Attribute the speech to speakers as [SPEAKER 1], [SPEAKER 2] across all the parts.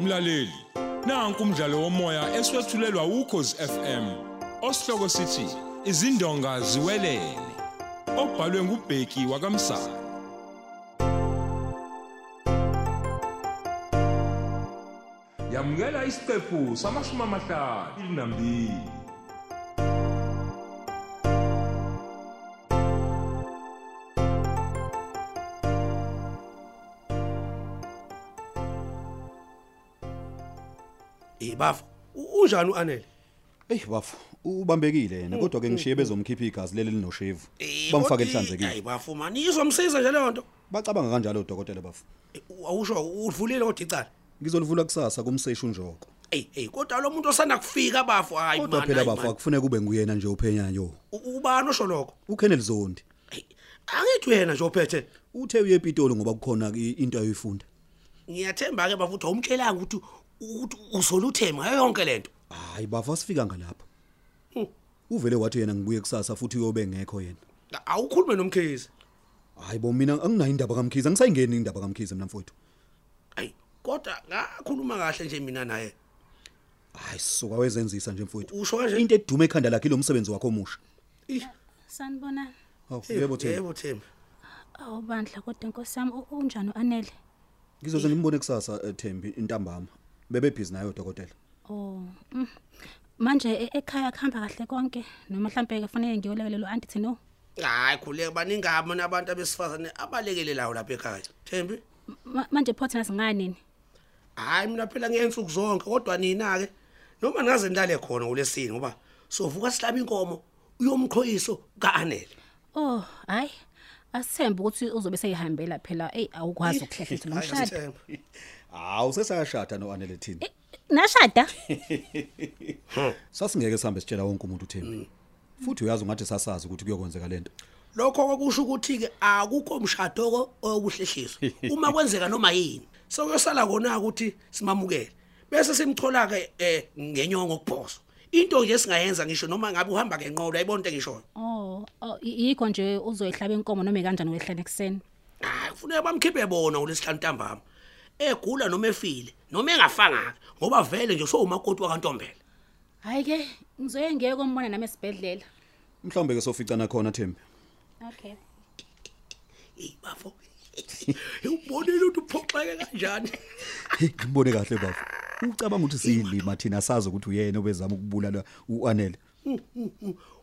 [SPEAKER 1] mlaleli nanku umdlalo womoya eswetshulelwa ukhozi FM osihloko sithi izindonga ziwelele obhalwe ngubheki wakamsa yamukela isiqephu samashumi amahlanu ilinambili
[SPEAKER 2] ebafo Eh, unjani uanele
[SPEAKER 3] Ey bafu, ubambekile yena kodwa ke ngishiye bezomkhipha igazi leli linoshevu. Eh,
[SPEAKER 2] Eh,
[SPEAKER 3] Bamfake elihlanzekile.
[SPEAKER 2] ayibafo mani izomsiza nje leyo nto
[SPEAKER 3] Bacabanga kanjalo udokotela bafu.
[SPEAKER 2] Eh, awusho ulivulile kodwa icala
[SPEAKER 3] Ngizolivula kusasa kumseshi unjoko.
[SPEAKER 2] eyi eyi kodwa lo muntu osanda kufika bafo hayi
[SPEAKER 3] Kodwa
[SPEAKER 2] mani,
[SPEAKER 3] phela
[SPEAKER 2] hayi,
[SPEAKER 3] bafu
[SPEAKER 2] mani.
[SPEAKER 3] akufuneka kube nguyena nje uphenyayo.
[SPEAKER 2] U- ubani osho lokho
[SPEAKER 3] UKenneth Zondi
[SPEAKER 2] Eyi, angithi uyena nje ophethe
[SPEAKER 3] uthe uye ePitoli ngoba kukhona i- into ayoyifunda.
[SPEAKER 2] ngiyathemba ke bafo ukuthi awumtshelanga ukuthi ukuthi uzoluthema ngayo yonke lento
[SPEAKER 3] Hayi bafu asifika ngalapha.
[SPEAKER 2] Mm.
[SPEAKER 3] Uvele wathi yena ngibuye kusasa futhi uyobe ngekho yena.
[SPEAKER 2] awukhulume nomkhizi
[SPEAKER 3] Hayi bo mina anginayo indaba kaMkhize, angisayingeni indaba kaMkhize mina mfowethu.
[SPEAKER 2] ayi kodwa ngakhuluma kahle nje mina naye
[SPEAKER 3] Hayi suka wezenzisa nje mfowethu.
[SPEAKER 2] usho kanje
[SPEAKER 3] Into edume ekhanda lakhe lo msebenzi wakho omusha.
[SPEAKER 2] Ih,
[SPEAKER 4] Sanibonani.
[SPEAKER 3] Hawu
[SPEAKER 2] Eh,
[SPEAKER 3] yebo Themba.
[SPEAKER 2] yebo themba
[SPEAKER 4] Awubandla kodwa Nkosi yami u- unjani uanele?
[SPEAKER 3] Ngizoze ngimbone kusasa eh, Thembi intambama. Bebe busy nayo dokotela.
[SPEAKER 4] Oh. mm. Manje e- ekhaya kuhamba kahle konke noma mhlambe ke fanele ngiyolekelela uanti Thino.
[SPEAKER 2] hayi khuleke baningabi nabantu abesifazane abalekelelayo lapha ekhaya thembi
[SPEAKER 4] Ma- Manje photha singaneni?
[SPEAKER 2] hayi mina phela ngeyensuku zonke kodwa nina ke noma ningaze nilale khona ulesini ngoba sovuka sihlaba inkomo uyomqhoyiso kaanele
[SPEAKER 4] Oh, hayi. Asithembe ukuthi uzobe seyihambela phela. Ey, awukwazi ukuhlehletha nomshado.
[SPEAKER 3] Hawu sesayashada noanele thini.
[SPEAKER 4] Eh, Nashada?
[SPEAKER 3] Sasingeke sihambe sitshela wonke umuntu Thembi. Futhi uyazi ngathi sasazi ukuthi kuyokwenzeka lento.
[SPEAKER 2] lokho kokusho ukuthi ke akukho umshado okuhlehliswa uma kwenzeka noma yini sokuyosala kona ukuthi simamukele bese simthola ke eh, ngenyongo okuphoso into nje singayenza ngisho noma ngabe uhamba ngenqolo uyayibona into engishoyo
[SPEAKER 4] Oh, oh, i- yikho nje uzoyihlaba inkomo noma kanjani wehlele ekseni.
[SPEAKER 2] hayi kufuneka bamkhiphe bona ngolesihlanu ntambama egula noma efile noma engafanga ngoba vele nje sowumakoti wakantombela
[SPEAKER 4] Hayi ke, ngizoye ngeke umbone nami esibedlela.
[SPEAKER 3] Mhlawumbe ke soficana khona Thembi.
[SPEAKER 4] Okay.
[SPEAKER 2] eyi bafo ubonile ukuthi uphoxeke kanjani
[SPEAKER 3] Ngibone kahle bafu. Ucabanga ukuthi siyilima thina sazi ukuthi uyena obezama ukubulala uanele.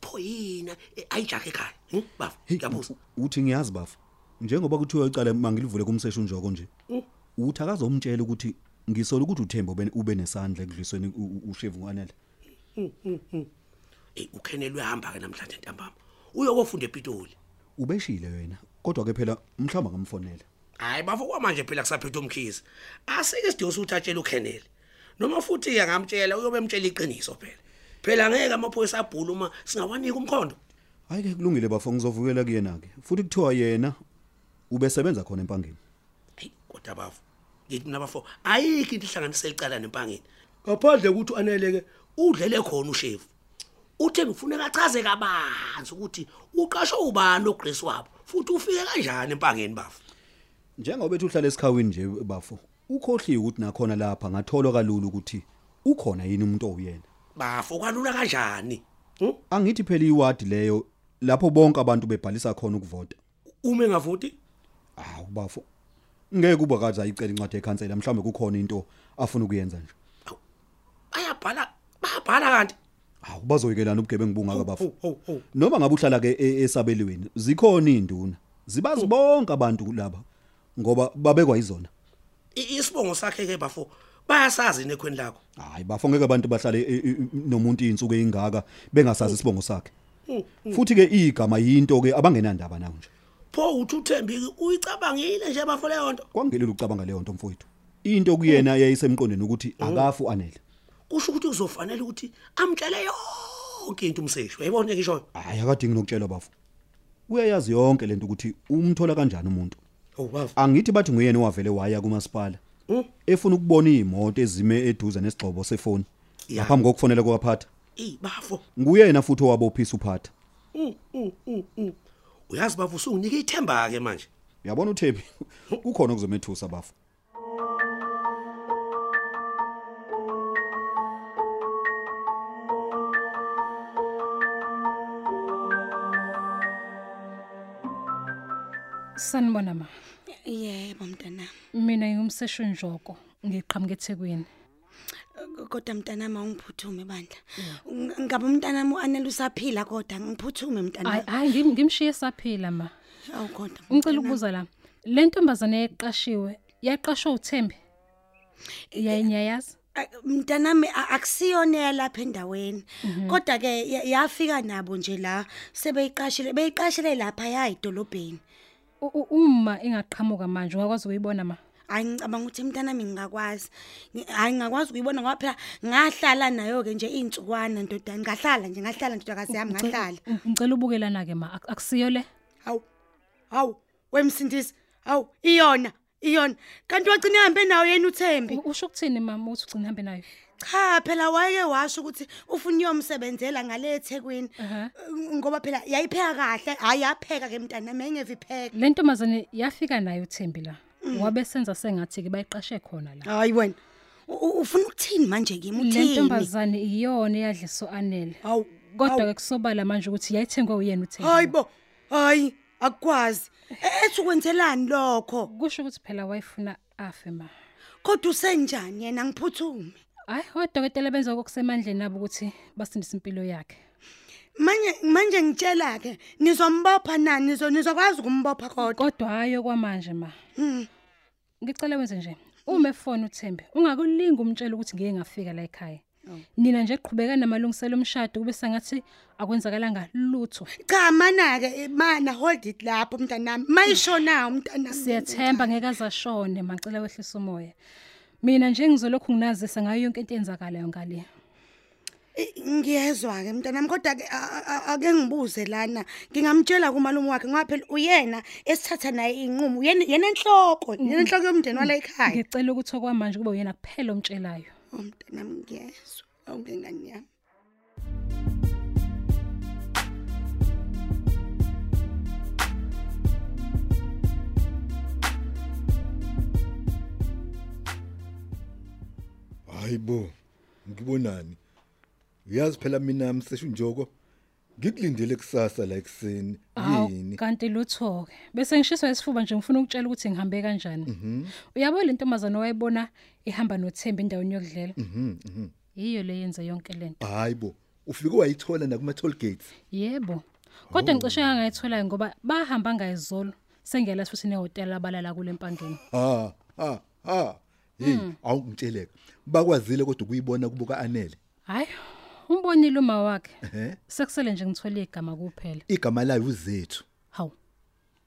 [SPEAKER 2] pho yina eh, ayijahe ekhaya hm, bafo
[SPEAKER 3] Hey,
[SPEAKER 2] ngiyabuza
[SPEAKER 3] u- uthi ngiyazi bafu. Njengoba kuthiwa icala mangilivule kumseshi unjoko nje. Uthi akazomtshela ukuthi ngisola ukuthi uThembi ube- ube nesandla ekudlisweni u- u- ushevu uanele.
[SPEAKER 2] eyi ukhenele uyahamba-ke namhlanje ntambama uyokofunda epitoli
[SPEAKER 3] Ubeshile wena. Kodwa ke phela mhlawumbe ngamfonela.
[SPEAKER 2] hhayi bafo kwamanje phela kusaphethe umkhizi asike isidingo sokuthi atshele ukhenele noma futhi-ke angamtshela uyobe emtshela iqiniso phela phela ngeke amaphoyisa abhule uma singawanika umkhondo
[SPEAKER 3] Hayi ke kulungile bafo ngizovukela kuyena ke. Futhi kuthiwa yena ubesebenza khona empangeni.
[SPEAKER 2] Hey kodwa bafo ngithi mina bafo ayikho into ihlanganisela icala nempangeni ngaphandle ukuthi aneleke udlele khona ushefu uthe ngifune kachaze kabanzi ukuthi uqashwe ubani loGrace wabo futhi ufike kanjani empangeni bafo
[SPEAKER 3] Njengoba bethu uhlala esikhawini nje bafo. Ukhohliwe ukuthi nakhona lapha ngathola kalulu ukuthi ukhona yini umuntu oyena.
[SPEAKER 2] bafo kwalula kanjani hm?
[SPEAKER 3] Angithi phela iward leyo lapho bonke abantu bebhalisa khona ukuvota.
[SPEAKER 2] uma engavoti
[SPEAKER 3] Hawu bafo. Ngeke kuba kaza icela incwadi ekhansela mhlawumbe kukhona into afuna ukuyenza nje.
[SPEAKER 2] bayabhala bayabhala kanti
[SPEAKER 3] Hawu bazoyikelana ubugebengu bungaka bafo.
[SPEAKER 2] ho ho
[SPEAKER 3] Noma ngabe uhlala ke e- esabelweni zikhona induna. Zibazi bonke abantu laba ngoba babekwa izona.
[SPEAKER 2] I- isibongo sakhe ke bafo bayasazi nekhweni lakho
[SPEAKER 3] Hayi bafongeke abantu bahlale e- e- e- nomuntu izinsuku ezingaka bengasazi isibongo sakhe. Futhi ke igama yinto ke abangenandaba nawo nje.
[SPEAKER 2] pho uthi uthembiki uyicabangile nje bafo leyo nto
[SPEAKER 3] Kwangelelo ucabanga leyo nto mfowethu. Into kuyena yayisemqondweni ukuthi akafu anele.
[SPEAKER 2] kusho ukuthi kuzofanele ukuthi amtshele yonke into umseshi uyayibona ngishoyo
[SPEAKER 3] Hayi akadingi nokutshela bafu. Uyayazi yonke lento ukuthi umthola kanjani umuntu.
[SPEAKER 2] oh bafo
[SPEAKER 3] Angithi bathi nguyena owavele waya kumasipala. Efuna ukubona izimoto ezime eduze nesigxobo sefoni.
[SPEAKER 2] Ya.
[SPEAKER 3] Ngaphambi kokufonela kwaphatha.
[SPEAKER 2] eyi bafo
[SPEAKER 3] Nguyena futhi owabophisa uphatha.
[SPEAKER 2] Mm, mm, mm, mm. uyazi bafo usunginike ithemba ke manje
[SPEAKER 3] Uyabona uThembi kukhona okuzomethusa bafu.
[SPEAKER 5] Sanibona ma.
[SPEAKER 6] Yebo mntanami.
[SPEAKER 5] Mina ngumseshu njoko ngiqhamuke eThekwini.
[SPEAKER 6] K- Kodwa mntanami awungiphuthume bandla. Ng- Ngabe umntanami uanele usaphila kodwa ngiphuthume
[SPEAKER 5] Hayi
[SPEAKER 6] mntanami.
[SPEAKER 5] hayi ngim- ngimshiye saphila ma.
[SPEAKER 6] Awu kodwa.
[SPEAKER 5] Ngicela ukubuza la. Le ntombazane eqashiwe yaqashwa uThembi.
[SPEAKER 6] Eh,
[SPEAKER 5] Yayinyayazi?
[SPEAKER 6] Ay, Mntanami a- akusiyona yalapha endaweni.
[SPEAKER 5] Mhm.
[SPEAKER 6] Kodwa ke ya- yafika nabo nje la sebeyiqashile beyiqashile lapha yayidolobheni.
[SPEAKER 5] U- u- Uma ingaqhamuka manje ungakwazi ukuyibona ma.
[SPEAKER 6] Hayi ngicabanga ukuthi mntanami ngingakwazi. Ngi- Hayi ngingakwazi ukuyibona ngoba phela ngahlala nayo ke nje izinsukwana ndodana. Ngahlala nje ngahlala ndoda kasiyami ngahlala.
[SPEAKER 5] U- Ngicela ubukelana ke ma ak- akusiyo le.
[SPEAKER 6] Hawu. Hawu, wemsindisi. Hawu, iyona, iyona. Kanti wagcina ihambe nawo yena uThembi.
[SPEAKER 5] U- Usho ukuthini mama uthi ugcina hambe nayo?
[SPEAKER 6] Cha, phela wayeke washo ukuthi ufuna uyomsebenzela ngalethekwini.
[SPEAKER 5] Ehhe.
[SPEAKER 6] Ngoba phela yayipheka kahle, ayapheka ke mntana menye vipheka.
[SPEAKER 5] Le ntombazane yafika nayo uThembi la.
[SPEAKER 6] Mm.
[SPEAKER 5] Wabe senza sengathi ke bayiqashe khona la.
[SPEAKER 6] Hayi wena. u- u- Ufuna ukuthini manje kimi
[SPEAKER 5] Le
[SPEAKER 6] uthini?
[SPEAKER 5] ntombazane iyona eyadliso anele.
[SPEAKER 6] Hawu,
[SPEAKER 5] Kodwa ke kusobala manje ukuthi yayithengwe uyena uThembi.
[SPEAKER 6] hayi bo. Hayi, akwazi. Ethu kwenzelani lokho?
[SPEAKER 5] kusho ukuthi phela wayefuna afe ma
[SPEAKER 6] Kodwa usenjani yena ngiphuthume?
[SPEAKER 5] hayi odokotela benza kokusemandleni nabo ukuthi basindise impilo yakhe
[SPEAKER 6] Manje manje ngitshela ke, nizombopha nani? Nizo- Nizokwazi ukumbopha kodwa.
[SPEAKER 5] kodwa hayo kwamanje ma ngicela wenze nje uma efona uthembe ungakulingi umtshela ukuthi ngeke ngafika la ekhaya nina nje qhubeka namalungiselo omshado kube sengathi akwenzakalanga lutho
[SPEAKER 6] cha mana ke mana hold it lapho mntanami mayishona umntana
[SPEAKER 5] siyethemba ngeke azashone macela wehlisa umoya mina nje ngizolokhu nginazisa ngayo yonke into eyenzakalayo ngale
[SPEAKER 6] ngiyezwa ke mntanami kodwa ke a- a- ake ngibuze lana ngingamtshela kumalume wakhe ngoba phela uyena esithatha naye inqumo uyena yena enhloko yena enhloko yomndeni wala
[SPEAKER 5] Mm-hmm.
[SPEAKER 6] ekhaya
[SPEAKER 5] ngicela ukuthi okwamanje kube uyena kuphela omtshelayo
[SPEAKER 6] Oh, mntanami ngiyezwa awunge ngani yami
[SPEAKER 7] Hayibo. Ngibonani. Uyazi phela mina umseshu njoko. Ngikulindele kusasa la ekseni.
[SPEAKER 5] Awu,
[SPEAKER 7] Yini?
[SPEAKER 5] kanti lutho ke bese ngishiswa isifuba nje ngifuna ukutshela ukuthi ngihambe
[SPEAKER 7] Mhm.
[SPEAKER 5] kanjani uyabo le ntombazana owayibona ihamba noThembi endaweni yokudlela
[SPEAKER 7] Mhm,
[SPEAKER 5] yiyo le yenze yonke lento
[SPEAKER 7] Hayibo. Ufike wayithola na kuma toll gates.
[SPEAKER 5] yebo kodwa
[SPEAKER 7] Oh.
[SPEAKER 5] ngicishe ngayithola ngoba bahamba ngayizolo sengiyala futhi nehotel abalala kule mpangeni
[SPEAKER 7] Ha ha ha. Hey,
[SPEAKER 5] Hmm.
[SPEAKER 7] awungitsheleka. Bakwazile kodwa ukuyibona kubuka anele.
[SPEAKER 5] hayi umbonile uma wakhe
[SPEAKER 7] Ehhe.
[SPEAKER 5] sekusele nje ngithole igama kuphela
[SPEAKER 7] Igama layo uzethu.
[SPEAKER 5] hawu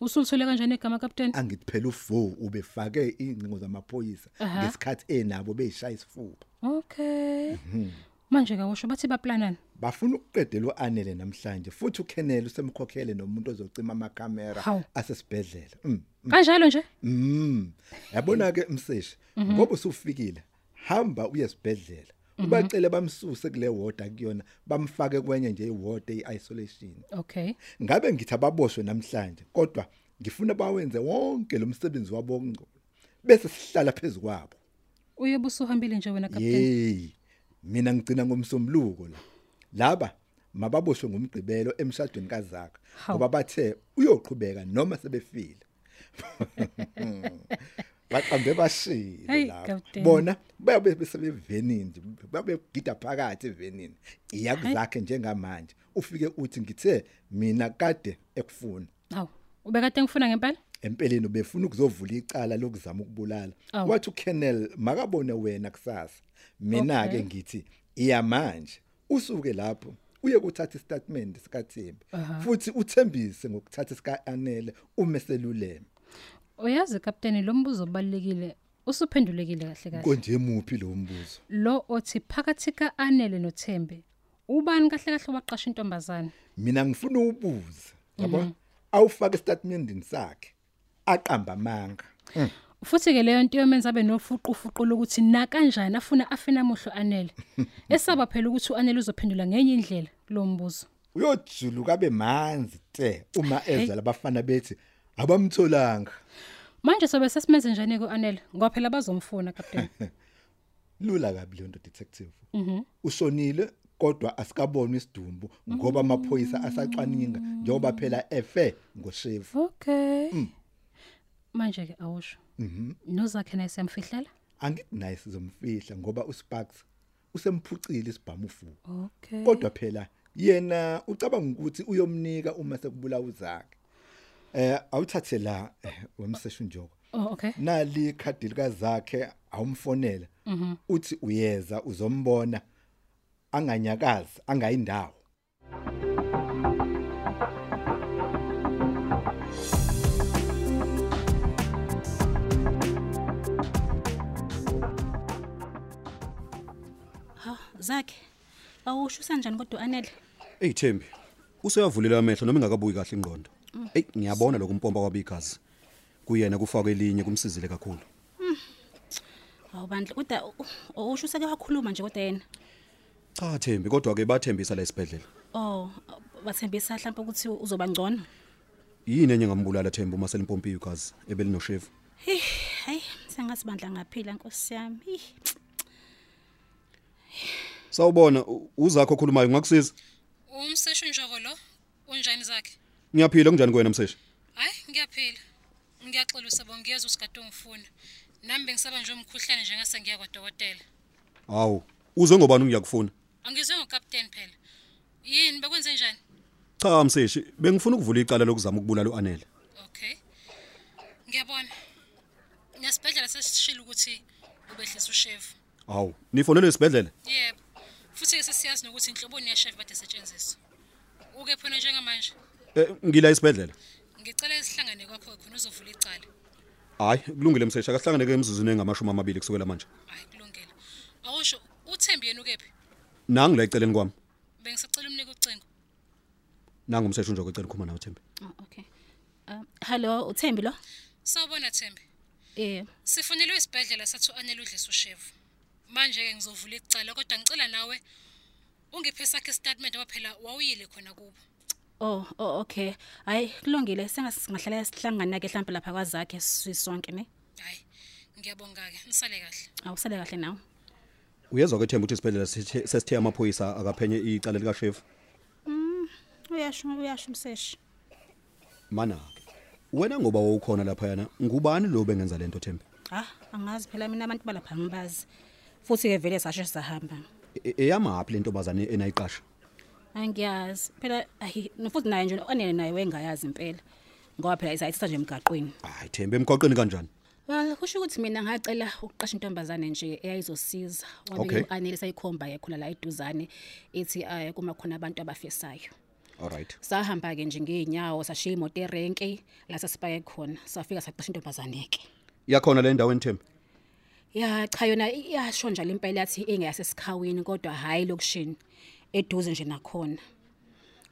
[SPEAKER 5] usulithole kanjani igama captain
[SPEAKER 7] Angithi phela uvo ubefake incingo zamaphoyisa
[SPEAKER 5] Aha.
[SPEAKER 7] ngesikhathi enabo beyishaya isifuba.
[SPEAKER 5] okay
[SPEAKER 7] Mhm.
[SPEAKER 5] manje kawusho bathi baplanana
[SPEAKER 7] bafuna ukuqedela uanele namhlanje futhi uKenel usemkhokhele nomuntu ozocima amakamera
[SPEAKER 5] Hawu.
[SPEAKER 7] asesibhedlela mm
[SPEAKER 5] kanjalo nje
[SPEAKER 7] mm yabona ke umseshi ngoba usufikile hamba uye esibhedlela ubacele bamsuse kule ward akuyona bamfake kwenye nje iward eisolation
[SPEAKER 5] okay
[SPEAKER 7] ngabe ngithi ababoshwe namhlanje kodwa ngifuna bawenze wonke lo msebenzi wabo ongcono bese sihlala phezukwabo
[SPEAKER 5] uyobe usuhambile nje wena captain
[SPEAKER 7] Yey. Mina ngicina ngomsombuluko la. Laba mababoshwe ngomgqibelo emshadweni kaZaka
[SPEAKER 5] Hawu.
[SPEAKER 7] ngoba bathe uyoqhubeka noma sebefile. Baqambe bashile
[SPEAKER 5] Hey,
[SPEAKER 7] lapho.
[SPEAKER 5] Kapteni.
[SPEAKER 7] Bona bayabe besebevenini nje, babe gida phakathi evenini. Iyakuzakhe njengamanje. Ufike uthi ngithe mina kade ekufuna.
[SPEAKER 5] Hawu, ubekade ngifuna ngempela?
[SPEAKER 7] empeleni befuna ukuzovula icala lokuzama ukubulala
[SPEAKER 5] Awu.
[SPEAKER 7] wathi uKennel makabone wena kusasa mina
[SPEAKER 5] Okay.
[SPEAKER 7] ke ngithi iya manje usuke lapho uye kuthatha istatement sikaThembi futhi uthembise ngokuthatha sikaAnele umeseluleme
[SPEAKER 5] Uyazi kapteni lo mbuzo obalekile usuphendulekile kahle kahle.
[SPEAKER 7] konje emuphi lo mbuzo
[SPEAKER 5] Lo othi phakathi kaAnele noThembe ubani kahle kahle waqasha intombazana?
[SPEAKER 7] mina ngifuna ubuze
[SPEAKER 5] Mhm.
[SPEAKER 7] yabo awufake istatement sakhe aqamba amanga
[SPEAKER 5] Futhi ke leyo nto yomenza abe nofuqufuqu lokuthi na kanjani afuna afina muhlo Anele. Esaba phela ukuthi uAnele uzophendula ngenye indlela lo mbuzo.
[SPEAKER 7] uyojuluka bemanzi te uma eza labafana bethi abamtholanga
[SPEAKER 5] Manje sobe sesimenze njani kuAnele? Ngoba phela bazomfuna kapteni.
[SPEAKER 7] lula kabi leyo nto detective usonile kodwa asikabonwa isidumbu ngoba amaphoyisa asacwaninga njengoba phela efe ngoshefu
[SPEAKER 5] Okay. manje ke awusho mhm nozakhe naye siyamfihlela
[SPEAKER 7] angithi naye sizomfihla ngoba uSparks usemphucile isibhamufu
[SPEAKER 5] Oh. okay
[SPEAKER 7] kodwa phela yena ucabanga ukuthi uyomnika uma sekubulawa uzakhe eh awuthathe la eh, wemseshu njoko
[SPEAKER 5] oh okay
[SPEAKER 7] nali ikhadi likazakhe awumfonela uthi uyeza uzombona anganyakazi angayindawo
[SPEAKER 4] ha zakhe awusho usanjani kodwa anele
[SPEAKER 3] Ey Thembi, useyavulela amehlo noma engakabuyi kahle ingqondo. Ey ngiyabona lokumpompa kwabigazi. Kuyena kufaka elinye kumsizile kakhulu.
[SPEAKER 4] hawu bandla kodwa awusho useke wakhuluma nje kodwa yena
[SPEAKER 3] Cha Thembi kodwa ke bathembisa la esibhedlela.
[SPEAKER 4] oh bathembisa mhlawumbe ukuthi uzoba ngcono
[SPEAKER 3] Yini enye ngambulala Thembi uma selimpompa igazi ebelinoshevu.
[SPEAKER 4] Hey, hayi sengathi bandla ngaphila nkosi yami Hi.
[SPEAKER 3] Sawubona u- uzakho okhulumayo ngakusiza.
[SPEAKER 5] umseshi njoko lo unjani zakhe
[SPEAKER 3] Ngiyaphila kunjani kuwena mseshi?
[SPEAKER 5] hayi ngiyaphila ngiyaxolisa sabo ngiyezwa usikade ungifuna nami bengisaba nje umkhuhlane njengase ngiya kwadokotela
[SPEAKER 3] Hawu, uzwe ngobani ngiyakufuna?
[SPEAKER 5] angizwe ngokapteni phela yini bekwenze njani
[SPEAKER 3] Cha mseshi, bengifuna ukuvula icala lokuzama ukubulala uAnele.
[SPEAKER 5] okay ngiyabona nasibhedlela sesishilo ukuthi ubehlisa ushevu
[SPEAKER 3] Hawu, nifonele esibhedlela?
[SPEAKER 5] yebo futhi ke sesiyazi nokuthi inhloboni yashevu bade setshenziswa uke phona njengamanje
[SPEAKER 3] Eh ngila esibhedlela.
[SPEAKER 5] ngicela isihlangane kwakho khona uzovula icala
[SPEAKER 3] Hayi, kulungile mseshi, akahlangane ke emzuzwini engamashumi amabili kusukela manje.
[SPEAKER 5] hayi kulungile awusho uthembi yena ukephi
[SPEAKER 3] Nangi la eceleni kwami.
[SPEAKER 5] bengisacela umnike ucingo
[SPEAKER 3] Nangu umseshi nje ocela ukukhuluma nawe Thembi.
[SPEAKER 4] Oh, okay um hallo uthembi lo
[SPEAKER 5] sawubona thembi
[SPEAKER 4] eh
[SPEAKER 5] sifunelwe isibhedlela sathi u-anele udlisa ushevu manje-ke ngizovula icala kodwa ngicela nawe ungiphe sakhe isitatimende ngoba phela wawuyile khona kubo
[SPEAKER 4] oh oh, okay hayi kulungile sengasingahlala sihlangana ke mhlawumbe lapha kwazakhe sisonke ne
[SPEAKER 5] hayi ngiyabonga-ke nisale kahle
[SPEAKER 4] awusale kahle nawe
[SPEAKER 3] Uyezwa ke Thembi ukuthi isibhedlela sithe- sesithe amaphoyisa akaphenye icala lika chef.
[SPEAKER 4] uyasho uyasho umseshi
[SPEAKER 3] Mana ke. Wena ngoba wawukhona lapha yana, ngubani lo bengenza lento Thembi?
[SPEAKER 4] ha angazi phela mina abantu balapha ngibazi futhi ke vele sasho sahamba
[SPEAKER 3] E- Eyamaphi lento bazane enayiqasha?
[SPEAKER 4] angiyazi phela ayi futhi naye nje anele naye wengayazi impela ngoba phela isayithatha nje emgaqweni
[SPEAKER 3] Hayi Thembi emgwaqeni kanjani?
[SPEAKER 4] well kusho ukuthi mina ngacela ukuqasha intombazane nje eyayizosiza
[SPEAKER 3] Okay.
[SPEAKER 4] wabeke anele sayikhomba yekhula la eduzane ethi aye kuma khona abantu abafisayo
[SPEAKER 3] All right.
[SPEAKER 4] sahamba ke nje ngeenyawo sashiya imoto erenke la sasipake khona safika saqasha intombazane ke
[SPEAKER 3] Iyakhona le ndaweni Thembi.
[SPEAKER 4] ya cha yona iyasho njalo impela yathi ingeyasesikhawini kodwa hhayi lokushini eduze nje nakhona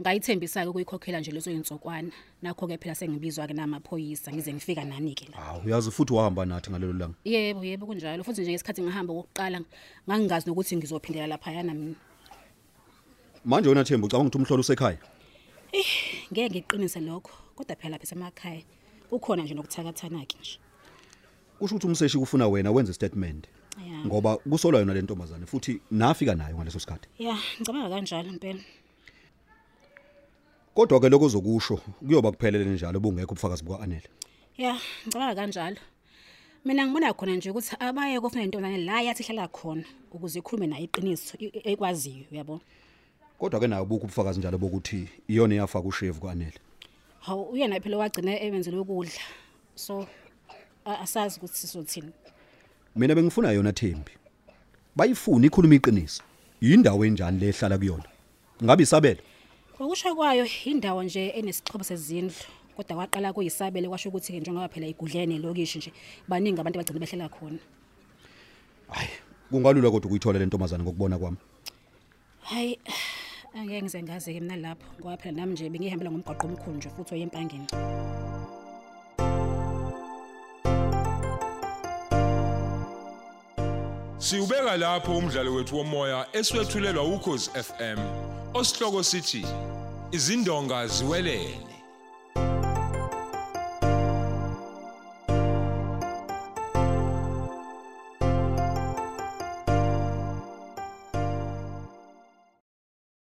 [SPEAKER 4] ngayithembisa-ke ukuyikhokhela nje lezo yinsokwana nakho-ke phela sengibizwa-ke namaphoyisa ngize ngifika nani-ke la
[SPEAKER 3] Hawu uyazi futhi wahamba nathi ngalelo langa.
[SPEAKER 4] yebo yebo kunjalo futhi nje ngesikhathi ngihamba kokuqala ngangingazi nokuthi ngizophindela laphayana mina
[SPEAKER 3] Manje wena Thembi ucabanga ukuthi umhlolo usekhaya?
[SPEAKER 4] ngeke ngiqinise lokho kodwa phela lapha esemakhaya kukhona nje nokuthakathana-ke nje
[SPEAKER 3] Kusho ukuthi umseshi kufuna wena wenze statement.
[SPEAKER 4] Ya.
[SPEAKER 3] Ngoba kusolwa yona le ntombazane futhi nafika nayo ngaleso sikhathi.
[SPEAKER 4] ya ngicabanga kanjalo impela
[SPEAKER 3] Kodwa ke lokho ozokusho kuyoba kuphelele njalo bungekho ubufakazi bukaAnele.
[SPEAKER 4] ya ngicabanga kanjalo mina ngibona khona nje ukuthi abaye kofuna intombazane la yathi ihlala khona ukuze ikhulume nayo iqiniso i- i- ekwaziyo uyabo
[SPEAKER 3] Kodwa ke nayo bukho ubufakazi njalo bokuthi iyona eyafaka ushevu kuAnele.
[SPEAKER 4] hawu uyena phela owagcine ebenzele ukudla so a- asazi ukuthi sizothini
[SPEAKER 3] Mina bengifuna yona Thembi. Bayifuna ikhuluma iqiniso. Yindawo enjani le ehlala kuyona? Ngabe isabelo?
[SPEAKER 4] ngokusho kwayo indawo nje enesixhobo sezindlu kodwa kwaqala kuyisabele kwasho ukuthi-ke njengoba phela igudle nelokishi nje baningi abantu abagcine behlela khona
[SPEAKER 3] Hayi, kungalula kodwa ukuyithola le ntombazane ngokubona kwami.
[SPEAKER 4] hhayi angeke ngize ngazi-ke mina lapho ngoba phela nami nje bengihambela ngomgwaqo omkhulu nje futhi oyempangeni
[SPEAKER 1] Siubeka lapho umdlalo wethu womoya eswetshulelwa ukhozi FM. Osihloko sithi izindonga ziwelele.